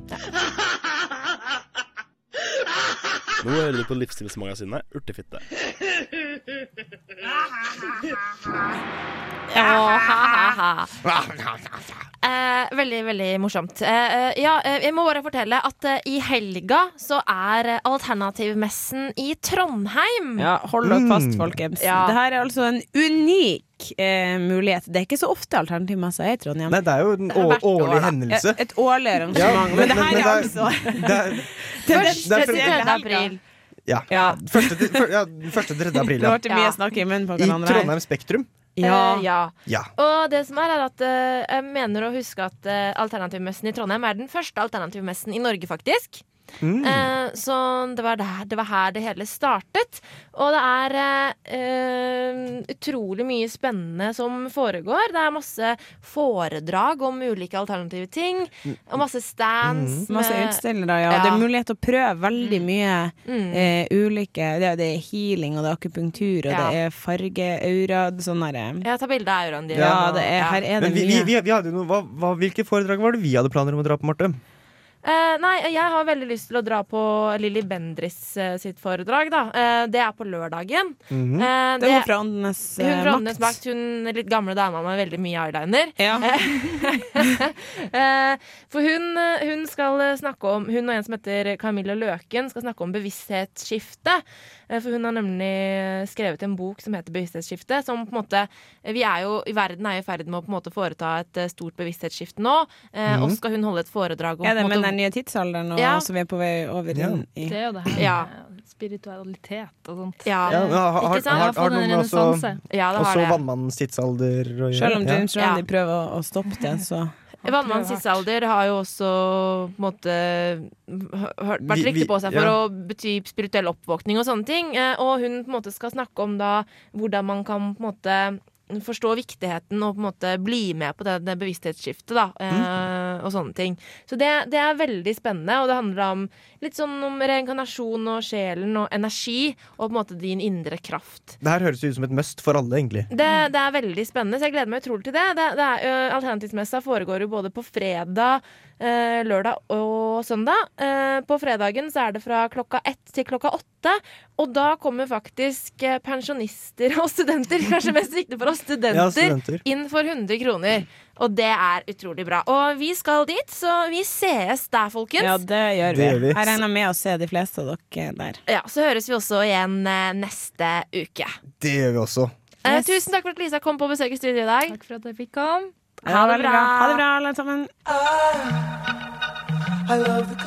Speaker 9: Nå hører du på livsstilsmagasinet Urtefitte.
Speaker 5: Å, ha, ha, ha. Eh, veldig, veldig morsomt. Eh, eh, ja, eh, jeg må bare fortelle at eh, i helga så er eh, alternativmessen i Trondheim.
Speaker 7: Ja, hold dere
Speaker 6: Mm.
Speaker 7: fast, folkens.
Speaker 5: Ja.
Speaker 7: Det her er altså en unik eh, mulighet. Det er ikke så ofte alternativmesser er i Trondheim.
Speaker 6: Nei, det er jo en å, årlig hendelse.
Speaker 7: Et, et årlig arrangement. men, det her er altså
Speaker 6: det er,
Speaker 7: Det er
Speaker 6: Først- det er-
Speaker 7: spesielle helga.
Speaker 6: Ja. Første, til, før- ja, første til 3. april.
Speaker 7: Nå
Speaker 6: Ja.
Speaker 7: ble det mye snakk i munnen på
Speaker 6: I
Speaker 7: hverandre. her.
Speaker 6: Trondheim Spektrum.
Speaker 5: Ja. Eh, ja.
Speaker 6: Ja.
Speaker 5: Og det som er, er at eh, jeg mener å huske at eh, alternativmessen i Trondheim er den første alternativmessen i Norge, faktisk. Eh, så det var, der, det var her det hele startet. Og det er eh, eh, utrolig mye spennende som foregår. Det er masse foredrag om ulike alternative ting. Og masse stands. med-
Speaker 7: Masse utstillere, ja. Det er mulighet til å prøve veldig mye
Speaker 5: Mm.
Speaker 7: eh, ulike det, er- det er healing, og det er akupunktur, og
Speaker 5: Ja.
Speaker 7: det er farge, aura, sånn derre
Speaker 5: Ja, ta bilde av auraen din.
Speaker 7: Ja, det er,
Speaker 5: Ja.
Speaker 7: her er det
Speaker 6: Men vi, vi,
Speaker 7: mye.
Speaker 6: vi, vi hadde jo noe, hva, hva, hvilke foredrag var det vi hadde planer om å dra på, Marte?
Speaker 5: Eh, nei, jeg har veldig lyst til å dra på Lilly Bendris eh, sitt foredrag, da. Eh, det er på lørdagen.
Speaker 6: Mhm.
Speaker 5: Eh,
Speaker 7: Det er hun fra Åndenes eh,
Speaker 5: Hun fra Åndenes
Speaker 7: makt.
Speaker 5: makt, hun litt gamle dama med veldig mye eyeliner.
Speaker 7: Ja.
Speaker 5: Eh, For hun, eh, hun skal eh, snakke om Hun og en som heter Camilla Løken skal snakke om bevissthetsskifte. Eh, For hun har nemlig eh, skrevet en bok som heter Bevissthetsskifte. Som på en måte eh, vi er jo, i Verden er jo i ferd med å på en måte foreta et eh, stort bevissthetsskifte nå. Eh, Og skal hun holde et foredrag om
Speaker 7: Er Mhm. det
Speaker 5: på en
Speaker 7: med
Speaker 5: måte,
Speaker 7: den nye tidsalderen og,
Speaker 5: Ja.
Speaker 7: som vi er på vei over
Speaker 6: Ja.
Speaker 7: inn i?
Speaker 2: Det er jo det her
Speaker 5: Ja.
Speaker 2: med spiritualitet og sånt.
Speaker 5: Ja.
Speaker 6: Ja, men har, har,
Speaker 5: Ikke sant?
Speaker 6: har, har
Speaker 2: Jeg har fått en
Speaker 6: noe med også,
Speaker 2: renessanse.
Speaker 5: Ja, det har
Speaker 6: også
Speaker 5: det.
Speaker 6: vannmannens tidsalder å gjøre?
Speaker 7: Selv
Speaker 6: Ja.
Speaker 7: om James Randi prøver å, å stoppe det, så
Speaker 5: Vannmannens tidsalder har jo også på en måte hørt, vært
Speaker 6: Vi- vi-
Speaker 5: riktig på seg for
Speaker 6: ja.
Speaker 5: å bety spirituell oppvåkning og sånne ting. Eh, Og hun på en måte skal snakke om da hvordan man kan på en måte forstå viktigheten og på en måte bli med på det, det bevissthetsskiftet da, eh,
Speaker 6: Mm.
Speaker 5: og sånne ting. Så det, det er veldig spennende, og det handler da om litt sånn om reinkarnasjon og sjelen og energi, og på en måte din indre kraft.
Speaker 6: Det her høres ut som et must for alle, egentlig.
Speaker 5: Det, det er veldig spennende, så jeg gleder meg utrolig til det. det, det er, ø, Alternativmessa foregår jo både på fredag, ø, lørdag og søndag. Eh, på fredagen så er det fra klokka ett til klokka åtte. Og da kommer faktisk eh, pensjonister og studenter, kanskje mest viktig for oss, studenter,
Speaker 6: Ja, studenter.
Speaker 5: inn for 100 kroner. Og det er utrolig bra. Og vi skal dit, så vi sees der, folkens.
Speaker 7: Ja, det gjør vi.
Speaker 6: Det gjør vi.
Speaker 7: Jeg regner med å se de fleste av dere der.
Speaker 5: Ja, så høres vi også igjen eh, neste uke.
Speaker 6: Det gjør vi også.
Speaker 5: Eh,
Speaker 7: Yes.
Speaker 5: tusen takk for at Lisa kom på besøk i studio i dag.
Speaker 2: Takk for at jeg fikk komme.
Speaker 5: Ha det
Speaker 7: veldig
Speaker 5: bra.
Speaker 7: Ha det bra, alle sammen.
Speaker 12: I love the